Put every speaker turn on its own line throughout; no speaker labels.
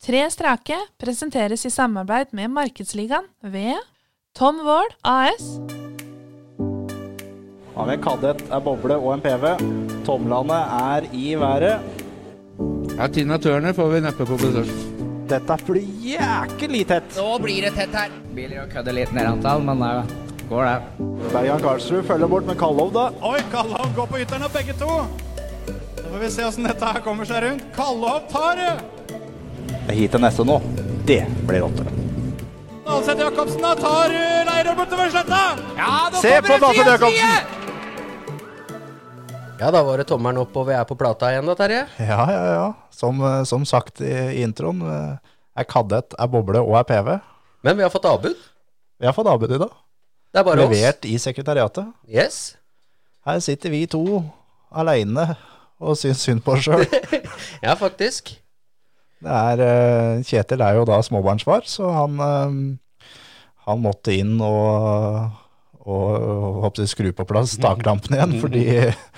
Tre strake presenteres i samarbeid med Markedsligaen ved Tom Ward AS.
Har vi en kadett, en boble og en PV. Tomlandet er i været.
Ja, Tina Turner får vi neppe på besøk.
Dette blir jæklig tett.
Nå blir det tett her. Biler og kødder litt nedantall, men det går det.
Bergan Karlsrud følger bort med Kallov, da.
Oi, Kallov går på ytteren av begge to. Da får vi se åssen dette her kommer seg rundt. Kallov tar det!
Hit til neste nå. Det blir åtte.
Dalseth Jacobsen da tar eh, Leirvoll bortover sletta.
Ja, nå
Se på
kommer det
Basse
side,
Jacobsen!
side!
Ja, da var det tommelen opp, og vi er på plata igjen da, Terje.
Ja, ja, ja. Som, eh, som sagt i i introen, eh, er kadett, er boble og er PV.
Men vi har fått avbud.
Vi har fått avbud i dag.
Det er bare
Levert i sekretariatet.
oss. Yes.
Her sitter vi to aleine og syns synd på oss sjøl.
Ja, faktisk.
Det er, eh, Kjetil er jo da småbarnsfar, så han, eh, han måtte inn og, og håper jeg, skru på plass taklampene igjen, fordi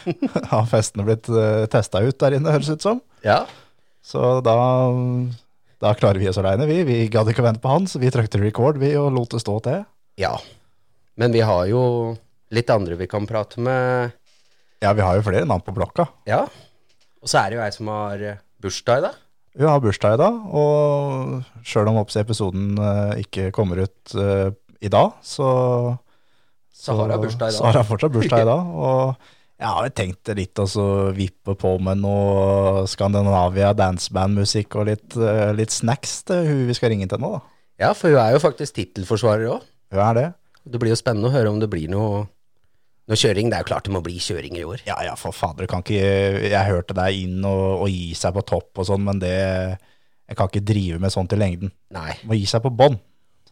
har festene blitt testa ut der inne, høres ut som.
Ja.
Så da, da klarer vi oss aleine, vi. Vi gadd ikke å vente på han, så vi trykte record vi og lot det stå til.
Ja. Men vi har jo litt andre vi kan prate med.
Ja, vi har jo flere navn på blokka.
Ja. Og så er det jo ei som har eh, bursdag i dag.
Hun har bursdag i dag, og sjøl om oppsett episoden eh, ikke kommer ut eh, i dag, så
Så har hun bursdag i dag.
Så har hun fortsatt bursdag i dag. Og jeg har jo tenkt litt å så vippe på med noe Skandinavia dancebandmusikk og litt, eh, litt snacks til hun vi skal ringe til nå, da.
Ja, for hun er jo faktisk tittelforsvarer òg.
Hun er det.
Det blir jo spennende å høre om det blir noe, noe kjøring. Det er jo klart det må bli kjøring i år.
Ja, ja, for fader, kan ikke Jeg hørte deg inn og, og gi seg på topp og sånn, men det Jeg kan ikke drive med sånt i lengden.
Nei.
Må gi seg på bånn.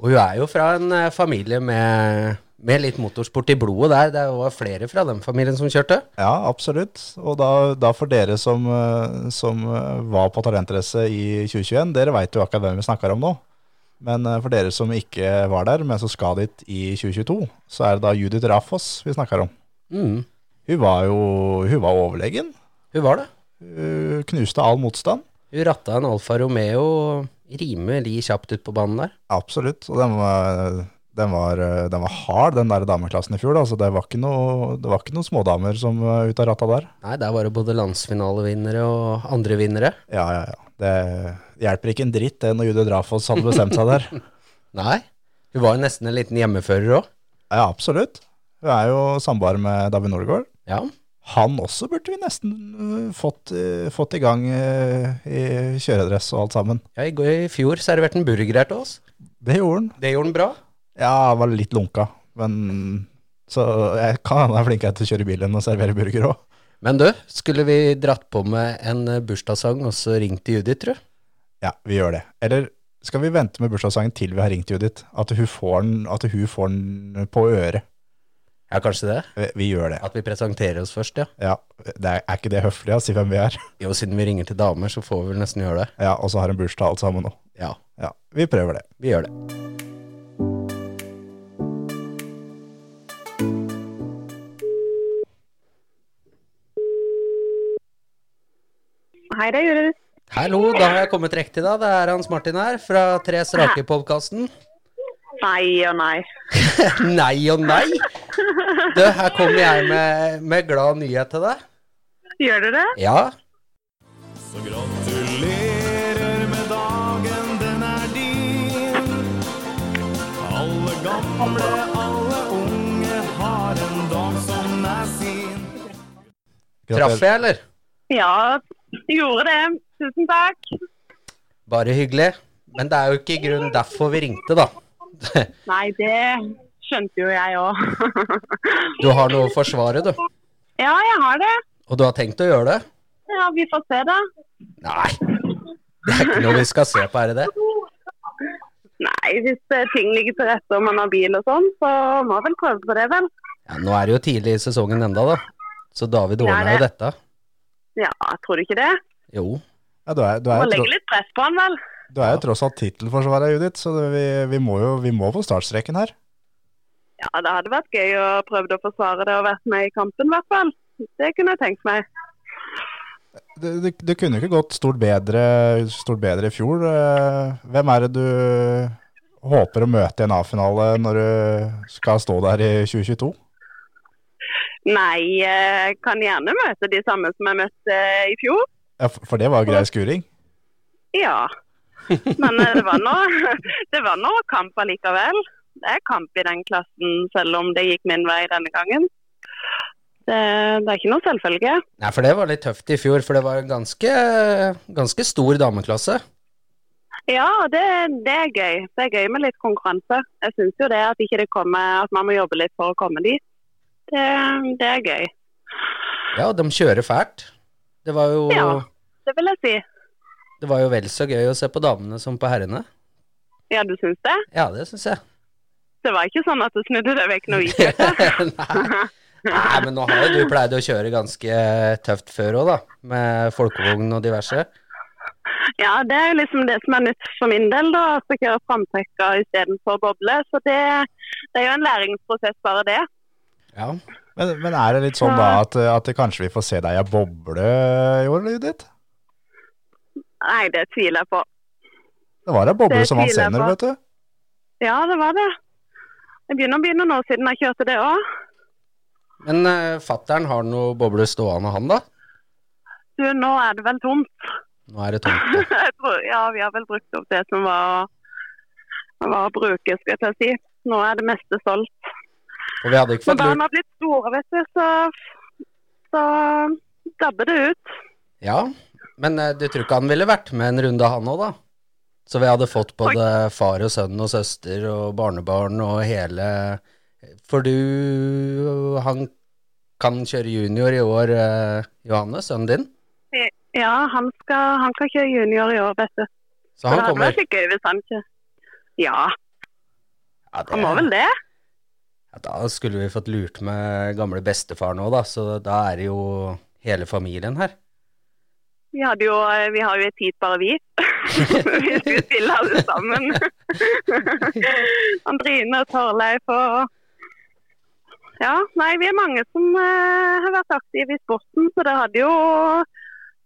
Og hun er jo fra en eh, familie med, med litt motorsport i blodet der. Det var flere fra den familien som kjørte.
Ja, absolutt. Og da, da for dere som, eh, som eh, var på talentrace i 2021, dere veit jo akkurat hvem vi snakker om nå. Men eh, for dere som ikke var der, men som skal dit i 2022, så er det da Judith Rafoss vi snakker om.
Mm.
Hun var jo hun var overlegen.
Hun var det.
Hun knuste all motstand.
Hun ratta en Alfa Romeo rimelig kjapt ut på banen der.
Absolutt. Og den var, den var, eh, den var hard, den der dameklassen i fjor. da. Så det var ikke noe- det var ikke noen smådamer som var ute av ratta der.
Nei, der var det både landsfinalevinnere og andre vinnere.
Ja, ja, ja. Det hjelper ikke en dritt det når Judith Rafoss hadde bestemt seg der.
Nei, hun var jo nesten en liten hjemmefører òg.
Ja, absolutt. Hun er jo samboer med David Norgård.
Ja.
Han også burde vi nesten øh, fått, øh, fått i gang øh, i kjøredress og alt sammen.
ja, i går i fjor serverte han burger her til oss.
Det gjorde han.
Det gjorde han bra.
Ja, han var litt lunka, men så jeg kan hende han er flinkere til å kjøre bil enn å servere burger òg.
Men du, skulle vi dratt på med en eh, bursdagssang og så ringt til Judith, tror du?
Ja, vi gjør det. Eller skal vi vente med bursdagssangen til vi har ringt Judith? At hun får den, at hun får den på øret.
Ja, kanskje det.
Vi, vi gjør det.
At vi presenterer oss først, ja.
Ja, det er, er ikke det høflig å si hvem vi er?
Jo, siden vi ringer til damer, så får vi vel nesten gjøre det.
Ja, og så har hun bursdag alt sammen nå.
Ja,
Ja, vi prøver det.
vi gjør det.
Hei, det er Judith.
Hallo, da har jeg kommet riktig, da. Det er Hans Martin her fra Tre strake-podkasten.
Nei og nei.
Nei og nei! Du, her kommer jeg med, med glad nyhet til deg.
Gjør du det?
Ja,
Så gratulerer med dagen, den er din. Alle gamle, alle unge har en dag som er sin.
traff jeg, eller?
Ja, gjorde det. Tusen takk.
Bare hyggelig. Men det er jo ikke i grunnen derfor vi ringte, da.
Nei, det skjønte jo jeg òg.
Du har noe å forsvare, du.
ja, jeg har det.
Og du har tenkt å gjøre det?
Ja, Vi får se, da.
Nei. Det er ikke noe vi skal se på, er det det?
Nei, hvis eh, ting ligger til rette og man har bil og sånn, så må jeg vel prøve på det, vel.
Ja, nå er det jo tidlig i sesongen enda, da. Så David
Det er
ordna jo
det.
dette.
Ja, tror du ikke det?
Jo.
Ja, du er, du er,
Må
jo tro,
legge litt press på han, vel.
du er jo tross alt tittelforsvarer, Judith, så det, vi, vi må jo vi må på startstreken her.
Ja, det hadde vært gøy å prøve å forsvare det og vært med i kampen, i hvert fall. Det kunne jeg tenkt meg.
det, det, det kunne jo ikke gått stort bedre, stort bedre i fjor. Eh, Hvem er det du håper å møte i en A-finale når du skal stå der i 2022?
Nei, eh, kan gjerne møte de samme som jeg møtte eh, i fjor.
Ja, for- for det var grei skuring.
Ja. Men eh, det var nå det var nå kamp allikevel. Det er kamp i den klassen, selv om det gikk min vei denne gangen. Det, det er ikke noe selvfølge.
Nei, for det var litt tøft i fjor, for det var en ganske, ganske stor dameklasse.
Ja, det, det er gøy. Det er gøy med litt konkurranse. Jeg syns jo det at, ikke det kommer, at man må jobbe litt for å komme dit. Det, det er gøy.
Ja, de kjører fælt. Det var jo,
Ja. Det vil jeg si.
det var jo vel så gøy å se på damene som på herrene.
Ja, du syns det?
Ja, det syns jeg.
Det var ikke sånn at du snudde deg vekk når vi kjørte?
Nei. Nei, men nå har jo du pleid å kjøre ganske eh, tøft før òg, da. Med folkevogn og diverse.
Ja, det er jo liksom det som er nytt for min del, da. At jeg kjører framtrekker istedenfor boble. Så det, det er jo en læringsprosess, bare det.
Ja.
Men, men er det litt sånn da at, at det kanskje vi får se deg i ei boble i år, eller, Judith?
Nei, det tviler jeg på.
Det var ei boble
Det
som vant
tviler jeg
senere,
på.
vet du.
Ja, det var det. Jeg begynner å begynne nå, siden jeg kjørte det òg.
Men uh, fattern har noe boble stående, han da?
Du, nå er det vel tomt.
Nå er det tomt. ja.
Jeg tror, ja, vi har vel brukt opp det som var, var å bruke, skal jeg til å si. Nå er det meste solgt.
Og vi hadde ikke
Når
fått lurt
barna har blitt store, vet du, så, så dabber det ut.
Ja, men eh, du tror ikke han ville vært med en runde, han òg, da? Så vi hadde fått både far og sønn og søster og barnebarn og hele For du Han kan kjøre junior i år, eh, Johannes, sønnen din.
Ja, han skal, han skal kjøre junior i år, vet du.
Så
Så
han
det hadde
kommer.
vært litt gøy hvis han ikke Ja,
Ja, det-
han må vel det?
Ja, da skulle vi fått lurt med gamle bestefar nå, da. Så da er det jo hele familien her.
Vi, hadde jo, eh, vi har jo et tid bare vi. Hvis vi spiller alle sammen. Andrine og Torleif og Ja, nei, vi er mange som eh, har vært aktive i sporten, så det hadde jo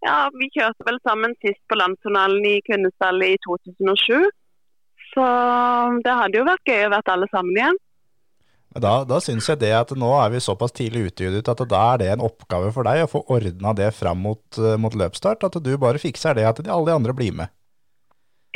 Ja, vi kjørte vel sammen sist på landsturnalen i Kvinesdal i 2007. Så det hadde jo vært gøy å være alle sammen igjen.
Men da, da syns jeg det at nå er vi såpass tidlig ute, Judith, at da er det en oppgave for deg å få ordna det fram mot, eh, mot løpsstart. At du bare fikser det at de, alle de andre blir med.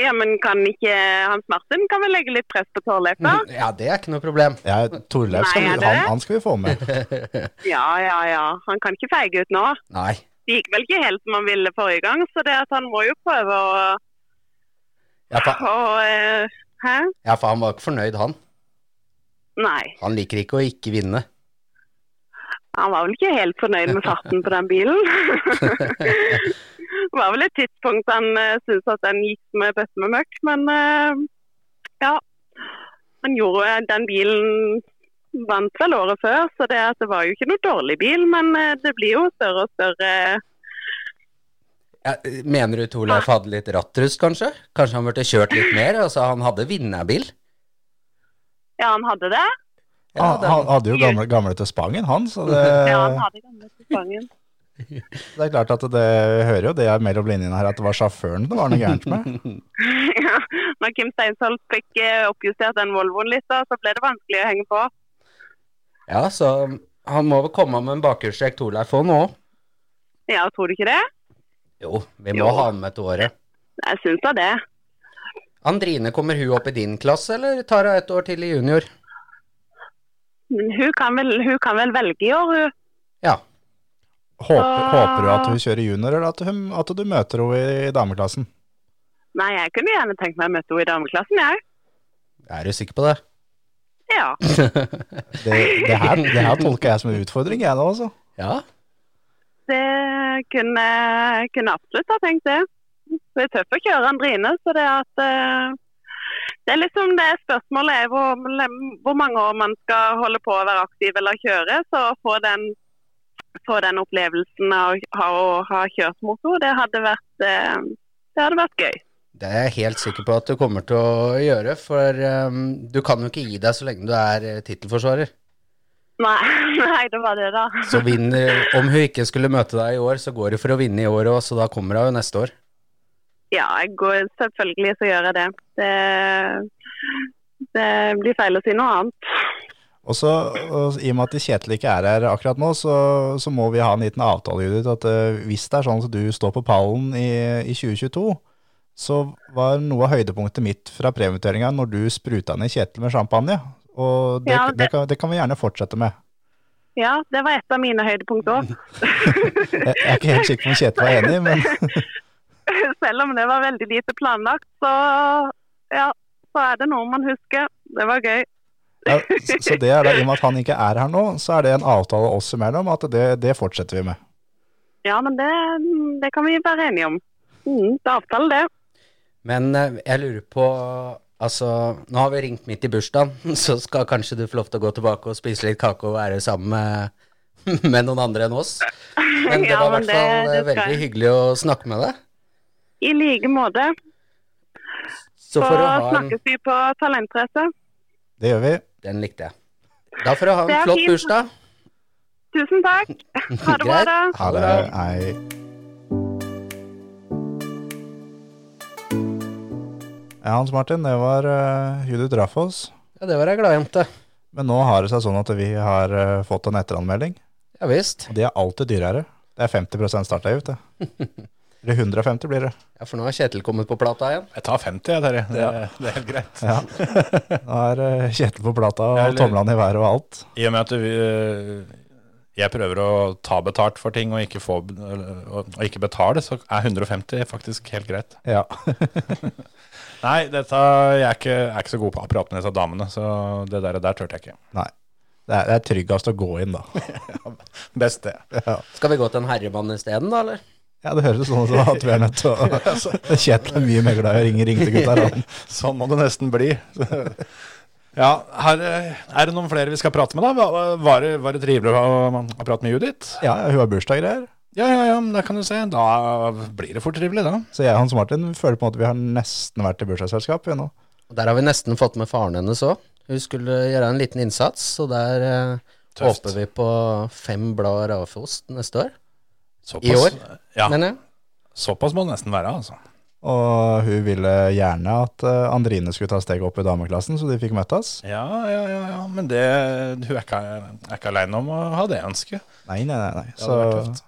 Ja, men kan ikke Hans Martin kan vel legge litt press på Torleif, da?
Ja, det er ikke noe problem.
Ja, Torleif skal,
Nei, er
vi-
det
han,
det?
han skal vi få med.
Ja, ja, ja. Han kan ikke feige ut nå.
Nei.
Det gikk vel ikke helt som han ville forrige gang, så det at han må jo prøve å,
Ja, for,
å eh, Hæ?
ja, for han var ikke fornøyd, han.
Nei.
Han liker ikke å ikke vinne.
Han var vel ikke helt fornøyd med farten på den bilen. det var vel et tidspunkt han eh, syntes at den gikk med bøtte med møkk, men eh, ja. Han gjorde eh, Den bilen vant vel året før, så det, at det var jo ikke noe dårlig bil, men eh, det blir jo større og større
Ja, mener du Torleif hadde litt rattrust, kanskje? Kanskje han burde kjørt litt mer? Altså, han hadde vinnerbil.
Ja, han hadde det.
Ja,
han,
det-
han hadde jo gamle, gamle til Spangen, han. Så det,
Ja, han hadde gamle sesongen.
det er klart at det vi hører jo det mellom linjene her, at det var sjåføren det var noe gærent med.
Ja, når Kim Steinsholt fikk eh, oppjustert den Volvoen litt, da, så ble det vanskelig å henge på.
Ja, så han må vel komme med en bakhjulstrekk Torleif òg nå?
Ja, tror du ikke det?
Jo, vi må
Jo.
ha han med til året.
Jeg syns da det.
Andrine, kommer hun opp i din klasse, eller tar hun et år til i junior?
Men hun kan vel, hun kan vel velge i år, hun.
Ja.
Håper, håper du at hun kjører junior, eller at, hun, at du møter henne i dameklassen?
Nei, jeg kunne gjerne tenkt meg å møte henne i dameklassen, jeg.
Er du sikker på det?
Ja.
Det, det, her, det her tolker jeg som en utfordring, jeg da, altså.
Ja.
Det kunne, kunne absolutt ha tenkt det. Det er tøft å kjøre Andrine, så det at eh, Det er liksom det spørsmålet er hvor, hvor mange år man skal holde på å være aktiv eller kjøre. Så å få den, få den opplevelsen av å ha, å ha kjørt motor, det hadde vært, eh, det hadde vært gøy.
Det er jeg helt sikker på at du kommer til å gjøre, for ehm, du kan jo ikke gi deg så lenge du er eh, tittelforsvarer.
Nei, nei, det var det, da.
Så vinner Om hun ikke skulle møte deg i år, så går det for å vinne i år òg, så da kommer hun jo neste år.
Ja, jeg går, selvfølgelig så gjør jeg det. det. Det blir feil å si noe annet.
Og så, og I og med at Kjetil ikke er her akkurat nå, så, så må vi ha en liten avtale, Judith. At eh, hvis det er sånn at du står på pallen i, i 2022, så var noe av høydepunktet mitt fra premieturneringa når du spruta ned Kjetil med champagne. Og det,
Ja,
det...
det-
kan, det kan vi gjerne fortsette med.
Ja, det var et av mine høydepunkt òg.
Jeg, jeg er ikke helt sikker på om Kjetil var enig, men
Selv om det var veldig lite planlagt, så ja, så er det noe man husker. Det var gøy.
ja, så- Så det er da, i og med at han ikke er her nå, så er det en avtale oss imellom at det, det fortsetter vi med.
Ja, men det, det kan vi være enige om. Mm, det er avtale, det.
Men eh, jeg lurer på Altså, nå har vi ringt midt i bursdagen, så skal kanskje du få lov til å gå tilbake og spise litt kake og være sammen med, med noen andre enn oss. Men det
Ja,
var i hvert
men det-
fall eh,
det skal
veldig
jeg.
hyggelig å snakke med deg.
I like måte.
Så
Så
får du ha en
snakkes vi på talentrace.
Det gjør vi.
Den likte jeg. Da får du ha en
Det er
flott
fint.
bursdag.
Tusen takk. Ha det bra,
Greit.
da.
Ha det. Hei. Ja, Hans Martin, det var uh, Judith Raffoss.
Ja, det var ei gladjente.
Men nå har det seg sånn at vi har eh, fått en etteranmelding.
Ja visst.
Og de er alltid dyrere. Det er 50 startavgift, det. Eller 150 blir det.
Ja, for nå har Kjetil kommet på plata igjen.
Jeg tar 50, jeg, Terje. Det, det er helt greit.
Ja. Nå er eh, Kjetil på plata og
Eller-
tomlene i været og alt.
I og med at vi, øh, jeg prøver å ta betalt for ting og ikke, få, og og ikke betale, så er 150 faktisk helt greit.
Ja.
Nei, dette, jeg er ikke, jeg er ikke så god på å prate med disse damene, så det der, der turte jeg ikke.
Nei. Det er, det er tryggest å gå inn, da.
Best det.
Skal vi gå til en herremann isteden, da, eller?
Ja, Det høres sånn ut som at vi er nødt til å Kjetil er mye mer glad i å ringe ringtegutta. da.
Sånn må det nesten bli. Ja, her, øh, Er det noen flere vi skal prate med, da? Var- Var det, var det trivelig å, å prate med Judith?
Ja, hun har bursdag og greier.
Ja, ja, ja, men det kan du se. Da blir det fort trivelig, da.
Så jeg og Hans Martin føler på en måte vi har nesten vært i bursdagsselskap. vi nå.
Og Der har vi nesten fått med faren hennes òg. Hun skulle gjøre en liten innsats, så der eh,
Tøft.
håper vi på fem blad Rafost neste år.
Såpass,
I år?
Ja,
mener jeg.
såpass må det nesten være, altså.
Og hun ville gjerne at eh, Andrine skulle ta steget opp i dameklassen, så de fikk møttes.
Ja, ja, ja, ja. men det, hun er ikke, er ikke aleine om å ha det ønsket.
Nei, nei, nei. nei.
Det
Så,
hadde vært tøft.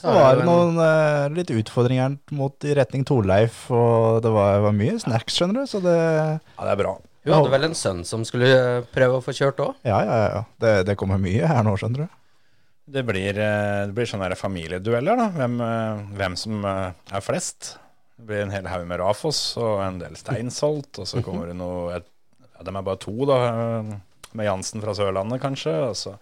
så var det noen eh, litt utfordringer mot i retning Torleif, og det var, var mye snacks, skjønner du. Så det
Ja, det er bra.
Hun hadde vel en sønn som skulle eh, prøve å få kjørt òg?
Ja, ja, ja. Det, det kommer mye her nå, skjønner du.
Det blir, eh, det blir sånne der familiedueller, da. Hvem, eh, hvem som eh, er flest. Det blir en hel haug med Rafos og en del Steinsholt, og så kommer det noe et, ja, De er bare to, da. eh, Med Jansen fra Sørlandet, kanskje. Og så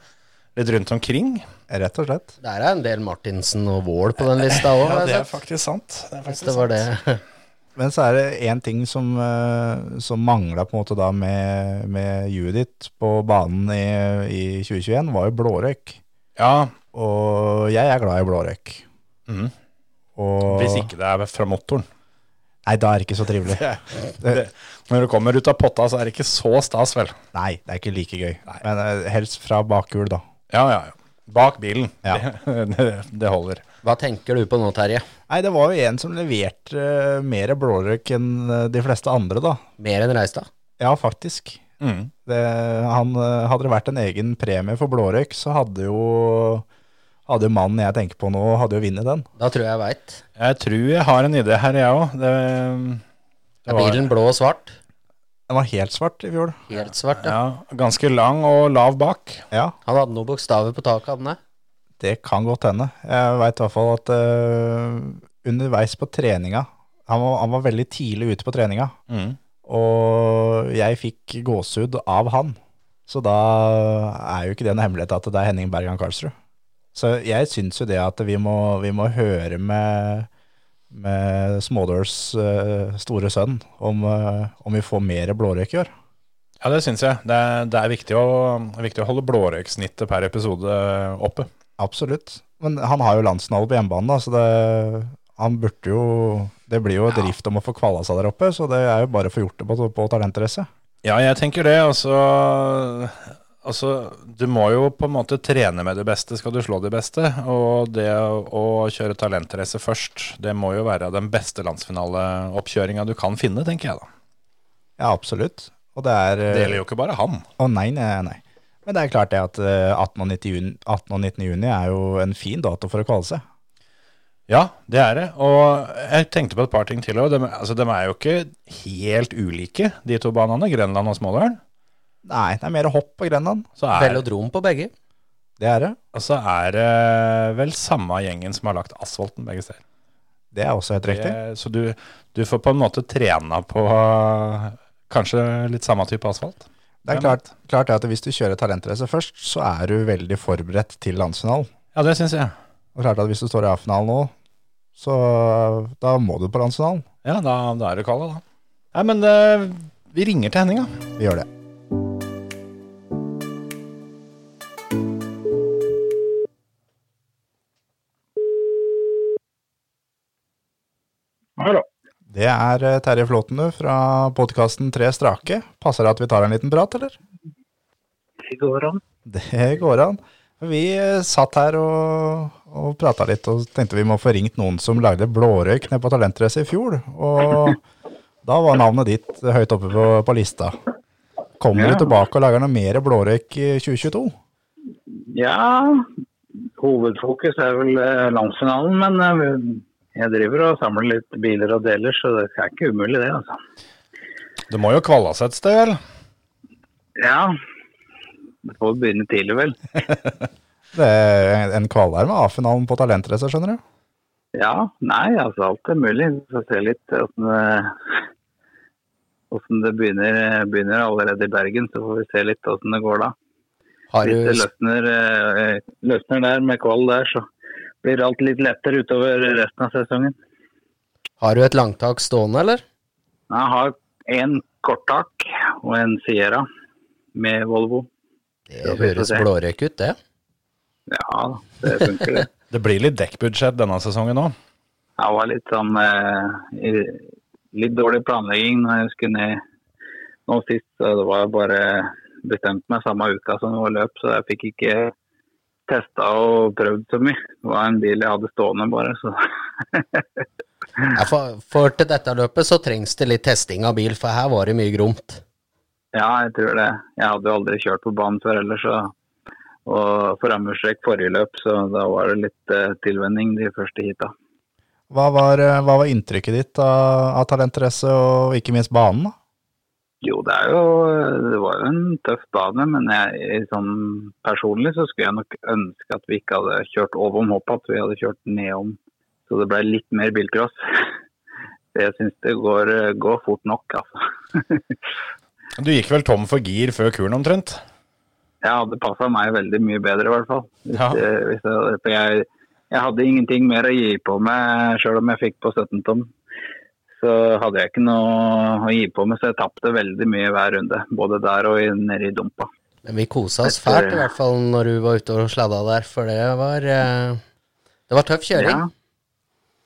litt rundt omkring.
Rett og slett.
Der er en del Martinsen og Vål på den lista òg.
Ja, det er faktisk sant. Det er faktisk
det var det.
Men så er det én ting som, eh, som mangla på en måte da med, med Judith på banen i, i 2021, var jo blårøyk.
Ja.
Og jeg er glad i blårøyk.
Mhm.
Og
Hvis ikke det er fra motoren.
Nei, da er det ikke så trivelig.
Det, når du kommer ut av potta, så er det ikke så stas, vel.
Nei, det er ikke like gøy. Men eh, helst fra bakhjul, da.
Ja, ja, ja. Bak bilen.
Ja.
Det, det, det holder.
Hva tenker du på nå, Terje?
Nei, det var jo en som leverte eh, mer blårøyk enn eh, de fleste andre, da.
Mer enn Reistad?
Ja, faktisk.
Mm.
Det, han, eh, hadde det vært en egen premie for blårøyk, så hadde jo hadde jo mannen jeg tenker på nå, hadde jo vunnet den.
Da tror jeg jeg veit.
Jeg tror jeg har en idé her, jeg òg. Det, det
Er
var-
bilen blå og svart?
Den var helt svart i fjor.
Helt svart, ja.
Ja, ganske lang og lav bak.
Ja,
Han hadde noen bokstaver på taket, hadde han det?
det kan godt hende. Jeg veit i hvert fall at eh, underveis på treninga han var, han var veldig tidlig ute på treninga. Og jeg fikk gåsehud av han. Så da er jo ikke det en hemmelighet at det er Henning Bergan Karlsrud. Så jeg syns jo det at vi må, vi må høre med, med Smådøls eh, store sønn om, eh, om vi får mer blårøyk i år.
Ja, det syns jeg. Det er, det er viktig, å, viktig å holde blårøyksnittet per episode oppe.
Absolutt. Men han har jo landsfinale på hjemmebane, da, så det, han burde jo Det blir jo et rift om å få kvala seg der oppe, så det er jo bare å få gjort det på, på talentrace.
Ja, jeg tenker det. Og så Altså, du må jo på en måte trene med det beste, skal du slå de beste. Og det å å kjøre talentrace først, det må jo være den beste landsfinaleoppkjøringa du kan finne, tenker jeg da.
Ja, absolutt. Og det er
Det gjelder jo ikke bare han.
Å nei, nei, nei. Men det er klart det at eh, 18. og 19. juni, 18. og 19. juni er jo en fin dato for å kvale seg.
Ja, det er det. Og jeg tenkte på et par ting til òg. De, altså, de er jo ikke helt ulike, de to banene, Grenland og Smådalen.
Nei, det er mer hopp på Grenland.
Så er,
Velodrom på begge.
Det er det.
altså er det vel samme gjengen som har lagt asfalten begge steder.
Det er også helt riktig.
Det- Så du, du får på en måte trena på eh, kanskje litt samme type asfalt.
Det er klart, klart er at hvis du kjører talentrace først, så er du veldig forberedt til landsfinalen.
Ja, det syns jeg.
Og klart at hvis du står i A-finalen nå, så da må du på landsfinalen.
Ja, da, da er det kalla, da. Nei, men eh, vi ringer til Henning, da.
Vi gjør det. Det er eh, Terje Flåten du, fra podkasten Tre strake. Passer det at vi tar en liten prat, eller?
Det går an.
Det går an. Vi eh, satt her og, og prata litt og tenkte vi må få ringt noen som lagde blårøyk nede på Talentrace i fjor. Og da var navnet ditt høyt oppe på, på lista. Kommer du tilbake og lager noe mer blårøyk i 2022?
Ja, hovedfokus er vel eh, landsfinalen, men eh, jeg driver og samler litt biler og deler, så det er ikke umulig det, altså.
Det må jo kvalla seg et sted, vel?
Ja, vi får begynne tidlig vel.
Det er en kvaler med A-finalen på Talentrace, skjønner du.
Ja, nei, altså alt er mulig. Vi får se litt hvordan det, hvordan det begynner, eh, begynner allerede i Bergen, så får vi se litt hvordan det går da.
Har
Hvis
du,
det løsner, eh, løsner der med kval der, så blir alt litt lettere utover resten av sesongen.
har du et langtak stående, eller?
Jeg har en korttak og en Sierra med Volvo.
Det
Ja, vi får
høres
se.
blårøyk ut, det.
Ja, det funker det.
Det blir litt dekkbudsjett denne sesongen òg.
Jeg var litt sånn eh, i- litt dårlig planlegging når jeg skulle ned nå sist. Så det var bare bestemt meg samme uka som det var løp, så jeg fikk ikke testa og prøvd så mye. Det var en bil jeg hadde stående bare, så
Ja, for, for til dette løpet så trengs det litt testing av bil, for her var det mye gromt.
ja, jeg tror det. Jeg hadde jo aldri kjørt på banen før heller, så og for rammestrek forrige løp, så da var det litt eh, tilvenning de første heata.
Hva var, eh, hva var inntrykket ditt av, av Talentrace, og ikke minst banen? da?
Jo, det er jo Det var jo en tøff bane, men jeg, jeg- sånn personlig så skulle jeg nok ønske at vi ikke hadde kjørt overom hoppet, at vi hadde kjørt nedom. Så det ble litt mer bilcross. Jeg syns det går, eh, går fort nok, altså.
Du gikk vel tom for gir før kuren omtrent?
Jeg hadde passa meg veldig mye bedre, i hvert fall. Hvis,
Ja.
eh, hvis jeg, for jeg, jeg hadde ingenting mer å gi på meg, sjøl om jeg fikk på 17 tom. Så hadde jeg ikke noe å gi på meg, så jeg tapte veldig mye hver runde. Både der og i- nede i dumpa.
Men vi kosa oss fælt, i hvert fall når du var ute og sladda der, for det var eh, Det var tøff kjøring.
Ja.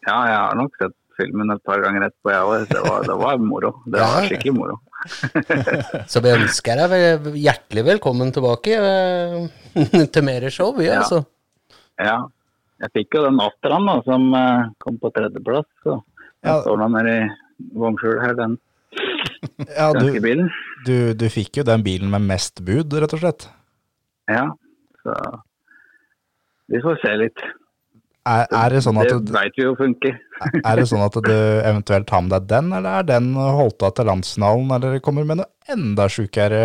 ja, jeg har nok sett filmen et par ganger etterpå, jeg òg. Det, var- det var moro. Det var
Ja.
skikkelig moro.
Så vi ønsker deg vel- hjertelig velkommen tilbake eh, til mer show, vi,
Ja.
altså.
Ja. Jeg fikk jo den Astran da, som eh, kom på tredjeplass. Så den
Ja.
står nå nede i vognskjulet her, den
Ja,
danske
du,
bilen.
du, du fikk jo den bilen med mest bud, rett og slett.
Ja, så vi får se litt.
Er, er det sånn at
Det
du,
veit vi jo funker.
Er det sånn at du eventuelt tar med deg den, eller er den holdt av til landsfinalen, eller kommer med noe enda sjukere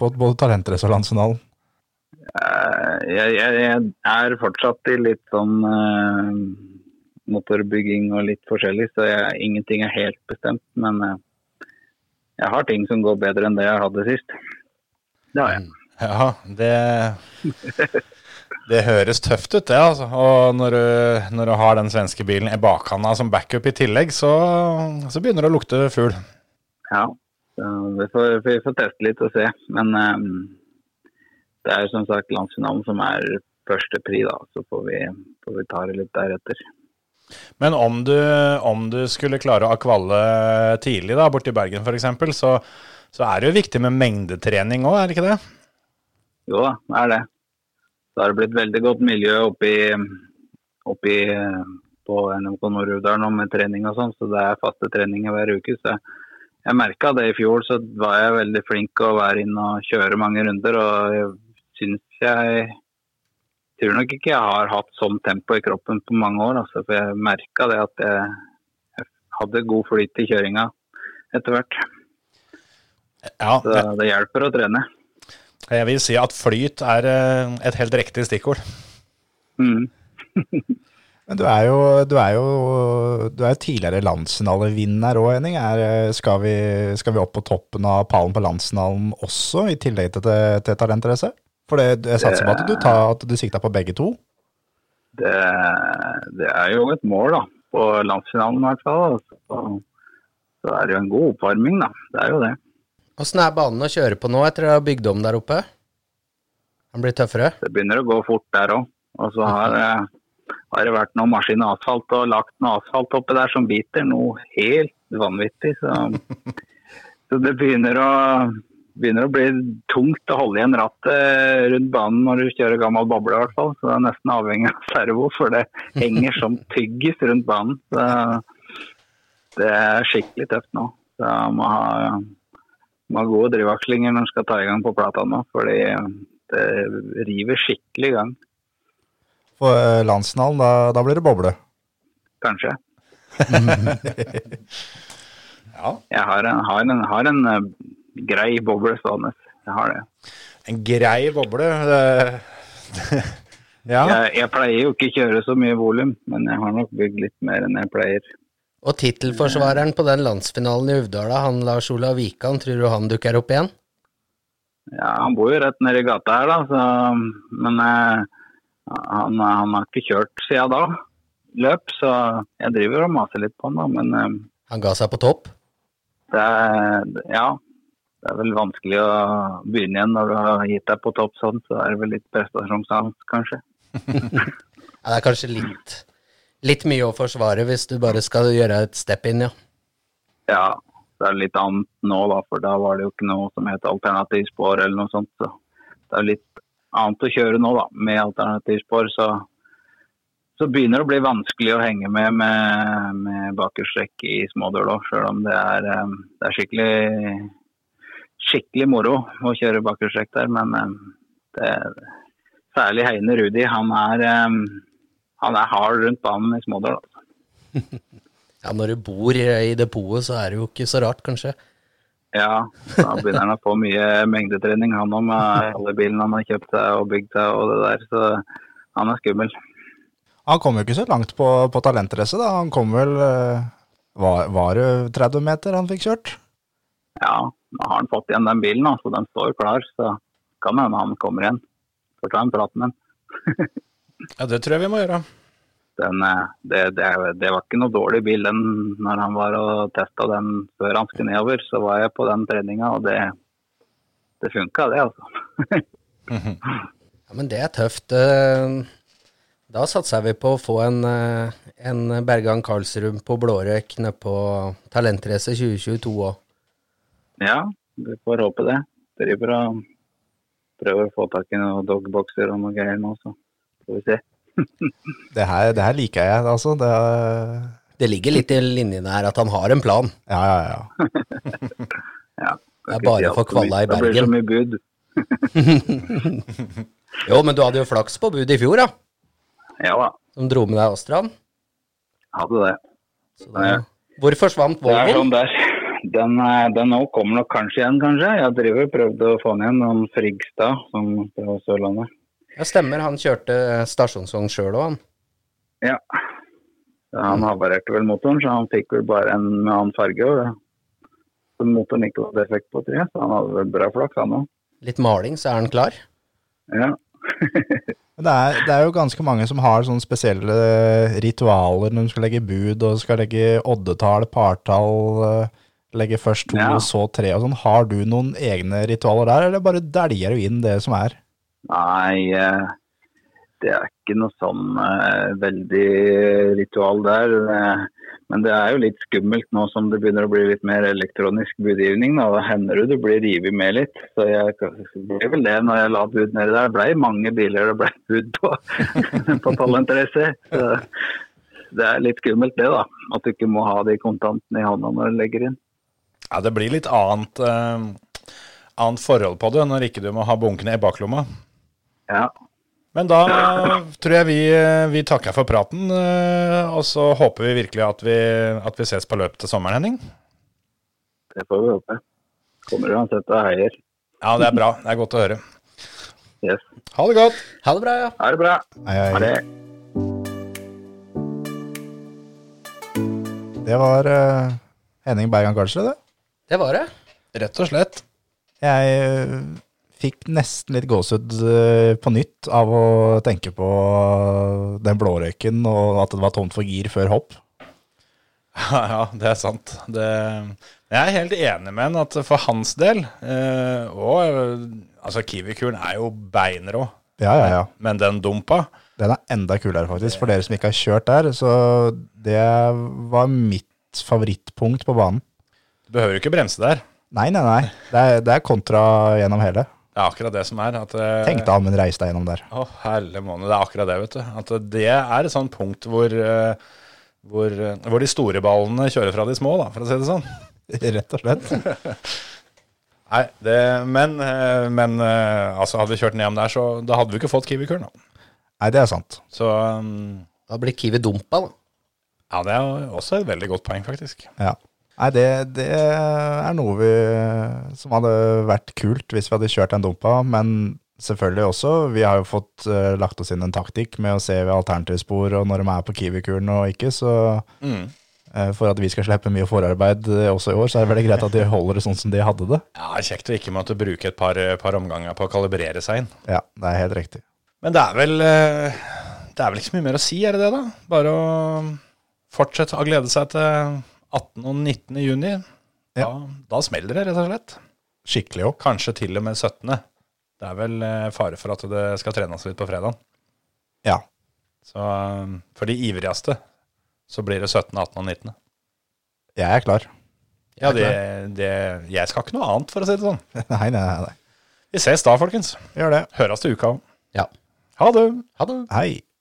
på både talentrace og landsfinalen?
Eh, Jeg, jeg, jeg er fortsatt i litt sånn eh, motorbygging og litt forskjellig, så jeg, ingenting er helt bestemt. Men eh, jeg har ting som går bedre enn det jeg hadde sist. Det har jeg.
Ja, det Det høres tøft ut, det. altså. Og når du, når du har den svenske bilen i bakhanda som backup i tillegg, så, så begynner det å lukte fugl.
Ja. Så vi, får, vi får teste litt og se. Men eh, det er som sagt landsfinalen som er første pri, da. Så får vi, får vi ta det litt deretter.
Men om du, om du skulle klare å akvalle tidlig, da, borti Bergen f.eks., så, så er det jo viktig med mengdetrening òg, er det ikke det?
Jo da, det er det. Så har det blitt veldig godt miljø oppi, oppi eh, på NMK Nord-Uvdal nå med trening og sånn, så det er faste treninger hver uke. Så jeg, jeg merka det i fjor, så var jeg veldig flink å være inne og kjøre mange runder. Og jeg syns jeg tror nok ikke jeg har hatt sånn tempo i kroppen på mange år, altså, for jeg merka det at jeg, jeg hadde god flyt i kjøringa etter hvert.
Ja,
Så det hjelper å trene.
jeg vil si at flyt er eh, et helt riktig stikkord.
Mm.
Men du er jo, du er jo, du er jo tidligere landsfinalevinner òg, Henning. Er, skal, vi, skal vi opp på toppen av pallen på landsfinalen også, i tillegg til, til talentrace? For det, jeg satser på at du, tar, at du sikta på begge to.
det, det er jo et mål, da. På landsfinalen i hvert fall. da. Så, så er det jo en god oppvarming, da. Det er jo det.
Åssen er banen å kjøre på nå etter å ha bygd om der oppe? Den blir tøffere?
Det begynner å gå fort der òg. Og så har, det- har det vært noe maskinasfalt og lagt noe asfalt oppi der som biter noe helt vanvittig. Så, så det begynner å, begynner å bli tungt å holde igjen rattet rundt banen når du kjører gammel boble, i hvert fall. Så det er nesten avhengig av servo, for det henger som tyggis rundt banen. Så det er skikkelig tøft nå. Så må ha, må ha gode drivakslinger når en skal ta i gang på plata nå, fordi det river skikkelig i gang,
For eh, landsfinalen, da, da blir det boble.
kanskje.
Ja.
Jeg har en, har en, har en eh, grei boble stående. Jeg har det.
En grei boble. det- ja.
Eh, Jeg, jeg pleier jo ikke kjøre så mye volum, men jeg har nok bygd litt mer enn jeg pleier.
Og tittelforsvareren på den landsfinalen i Uvdala, han Lars Olav Wikan, tror du han dukker opp igjen?
Ja, han bor jo rett nede i gata her, da, så, men eh, han, han har ikke kjørt siden da. Løp, så jeg driver og maser litt på han, da, men eh,
Han ga seg på topp.
det er, ja, det er vel vanskelig å begynne igjen når du har gitt deg på topp sånn, så er det vel litt prestasjonsangst, kanskje.
Ja, det er kanskje litt, litt mye å forsvare hvis du bare skal gjøre et step in, ja.
Ja, det er litt annet nå, da, for da var det jo ikke noe som het alternativspor eller noe sånt. Så det er litt annet å kjøre nå, da. Med alternativspor så, så begynner det å bli vanskelig å henge med med, med bakerstrekk i smådøl òg, sjøl om det er, eh, det er skikkelig, skikkelig moro å kjøre bakerstrekk der. Men eh, det, særlig Heine Rudi, han er, eh, han er hard rundt banen i smådøl. altså. da.
Ja, Når du bor i i depotet, så er det jo ikke så rart, kanskje.
Ja, da begynner han å få mye mengdetrening, han òg, med alle bilene han har kjøpt seg og bygd seg og det der. Så han er skummel.
Han kom jo ikke så langt på, på talentrace, da. Han kom vel eh, var, var det 30 meter han fikk kjørt?
Ja, nå har han fått igjen den bilen, da, så den står klar. Så kan hende han kommer igjen. Får ta en prat med han.
ja, det tror jeg vi må gjøre.
Den, eh, det, det, det var ikke noe dårlig bil den når han var og testa den før han skulle nedover. Så var jeg på den treninga, og det, det funka, det, altså.
Ja, Men det er tøft. eh, Da satser vi på å få en, eh, en Bergan Karlsrum på blårøyk nede på Talentrace 2022 òg.
Ja, vi får håpe det. Driver og prøver å få tak i noen dogbokser og noe greier nå, så får vi se.
Det her, det her liker jeg, altså. Det, er-
Det ligger litt i linjene her at han har en plan.
ja, ja, ja.
Det er bare for kvalla i
Det blir
Bergen.
så mye bud.
Jo, men du hadde jo flaks på budet i fjor, da.
Ja da,
Som dro med deg Åstrand.
hadde det.
Så da- Hvor forsvant
Det er
Volvoen?
sånn der. Den, eh, den nå kommer nok kanskje igjen, kanskje. Jeg driver og prøvde å få den igjen, han Frigstad som fra Sørlandet.
Ja, stemmer, han kjørte stasjonsvogn sjøl òg, han.
Ja. Så
Mm.
Han havarerte vel motoren, så han fikk vel bare en med annen farge. og det- Så motoren ikke var defekt på tre, så han hadde vel bra flaks, han òg.
Litt maling, så er han klar.
Ja.
Men det er, det er jo ganske mange som har sånne spesielle ritualer når de skal legge bud og skal legge oddetall, partall, eh, legge først to
Ja.
og så tre og sånn. Har du noen egne ritualer der, eller bare dæljer du inn det som er?
Nei, eh, Det er ikke noe sånn eh, veldig ritual der. eh, Men det er jo litt skummelt nå som det begynner å bli litt mer elektronisk budgivning. Da, da hender det du blir revet med litt. Så jeg ble vel det når jeg la bud nedi der. Det ble mange biler det ble bud på, på talentreiser. Så det er litt skummelt det, da. At du ikke må ha de kontantene i hånda når du legger inn.
Ja, det blir litt annet, eh, annet forhold på det når ikke du må ha bunkene i baklomma.
Ja.
Men da eh, tror jeg vi, eh, vi takker for praten, eh, og så håper vi virkelig at vi, at vi ses på løp til sommeren, Henning.
Det får vi håpe. Kommer uansett og heier.
Ja, det er bra. Det er godt å høre.
Yes.
Ha det godt.
Ha det bra, ja.
Ha det bra.
Hei, hei.
Ha det.
Det var eh, Henning Bergan Karlsrud, det.
Det var det.
Rett og slett.
Jeg eh, fikk nesten litt gåsehud eh, på nytt av å tenke på den blårøyken og at det var tomt for gir før hopp.
Ja, det er sant. Det, jeg er helt enig med han at for hans del eh, Og eh, altså, Kiwi-kuren er jo beinrå,
Ja, ja, ja.
men den dumpa
Den er enda kulere, faktisk, for dere som ikke har kjørt der. Så det var mitt favorittpunkt på banen.
Du behøver jo ikke bremse der.
Nei, nei, nei. Det er, det er kontra gjennom hele.
Det er akkurat det som er. At, eh,
Tenk da om hun reiste deg gjennom der.
Å, herre måned. Det er akkurat det, vet du. At det er et sånt punkt hvor, eh, hvor, eh, hvor de store ballene kjører fra de små, da, for å si det sånn.
Rett og slett.
Nei, det, men, eh, men eh, altså, hadde vi kjørt nedom der, så da hadde vi ikke fått Kiwi-kuren. da.
Nei, det er sant.
Så um,
Da blir Kiwi dumpa, da.
ja, det er også et veldig godt poeng, faktisk.
Ja. Nei, det, det er noe vi, som hadde vært kult hvis vi hadde kjørt den dumpa, men selvfølgelig også. Vi har jo fått eh, lagt oss inn en taktikk med å se ved alternativspor og når de er på Kiwi-kuren og ikke, så
Mm.
eh, for at vi skal slippe mye forarbeid eh, også i år, så er det veldig greit at de holder det sånn som de hadde det.
Ja, Kjekt å ikke måtte bruke et par, eh, par omganger på å kalibrere seg inn.
Ja, det er helt riktig.
Men det er vel eh, Det er vel ikke så mye mer å si, er det det, da? Bare å fortsette å glede seg til 18. og 19. juni. Da, da smeller det, rett og slett.
Skikkelig òg.
Kanskje til og med 17. Det er vel eh, fare for at det skal trenes litt på fredagen.
Ja.
Så eh, for de ivrigste så blir det 17., 18. og 19.
Jeg er klar.
Ja, det, det, jeg skal ikke noe annet, for å si det sånn.
Nei, nei, nei. nei.
Vi ses da, folkens.
Gjør det.
Høres til uka òg.
Ja.
Ha det!
Ha det.
Hei.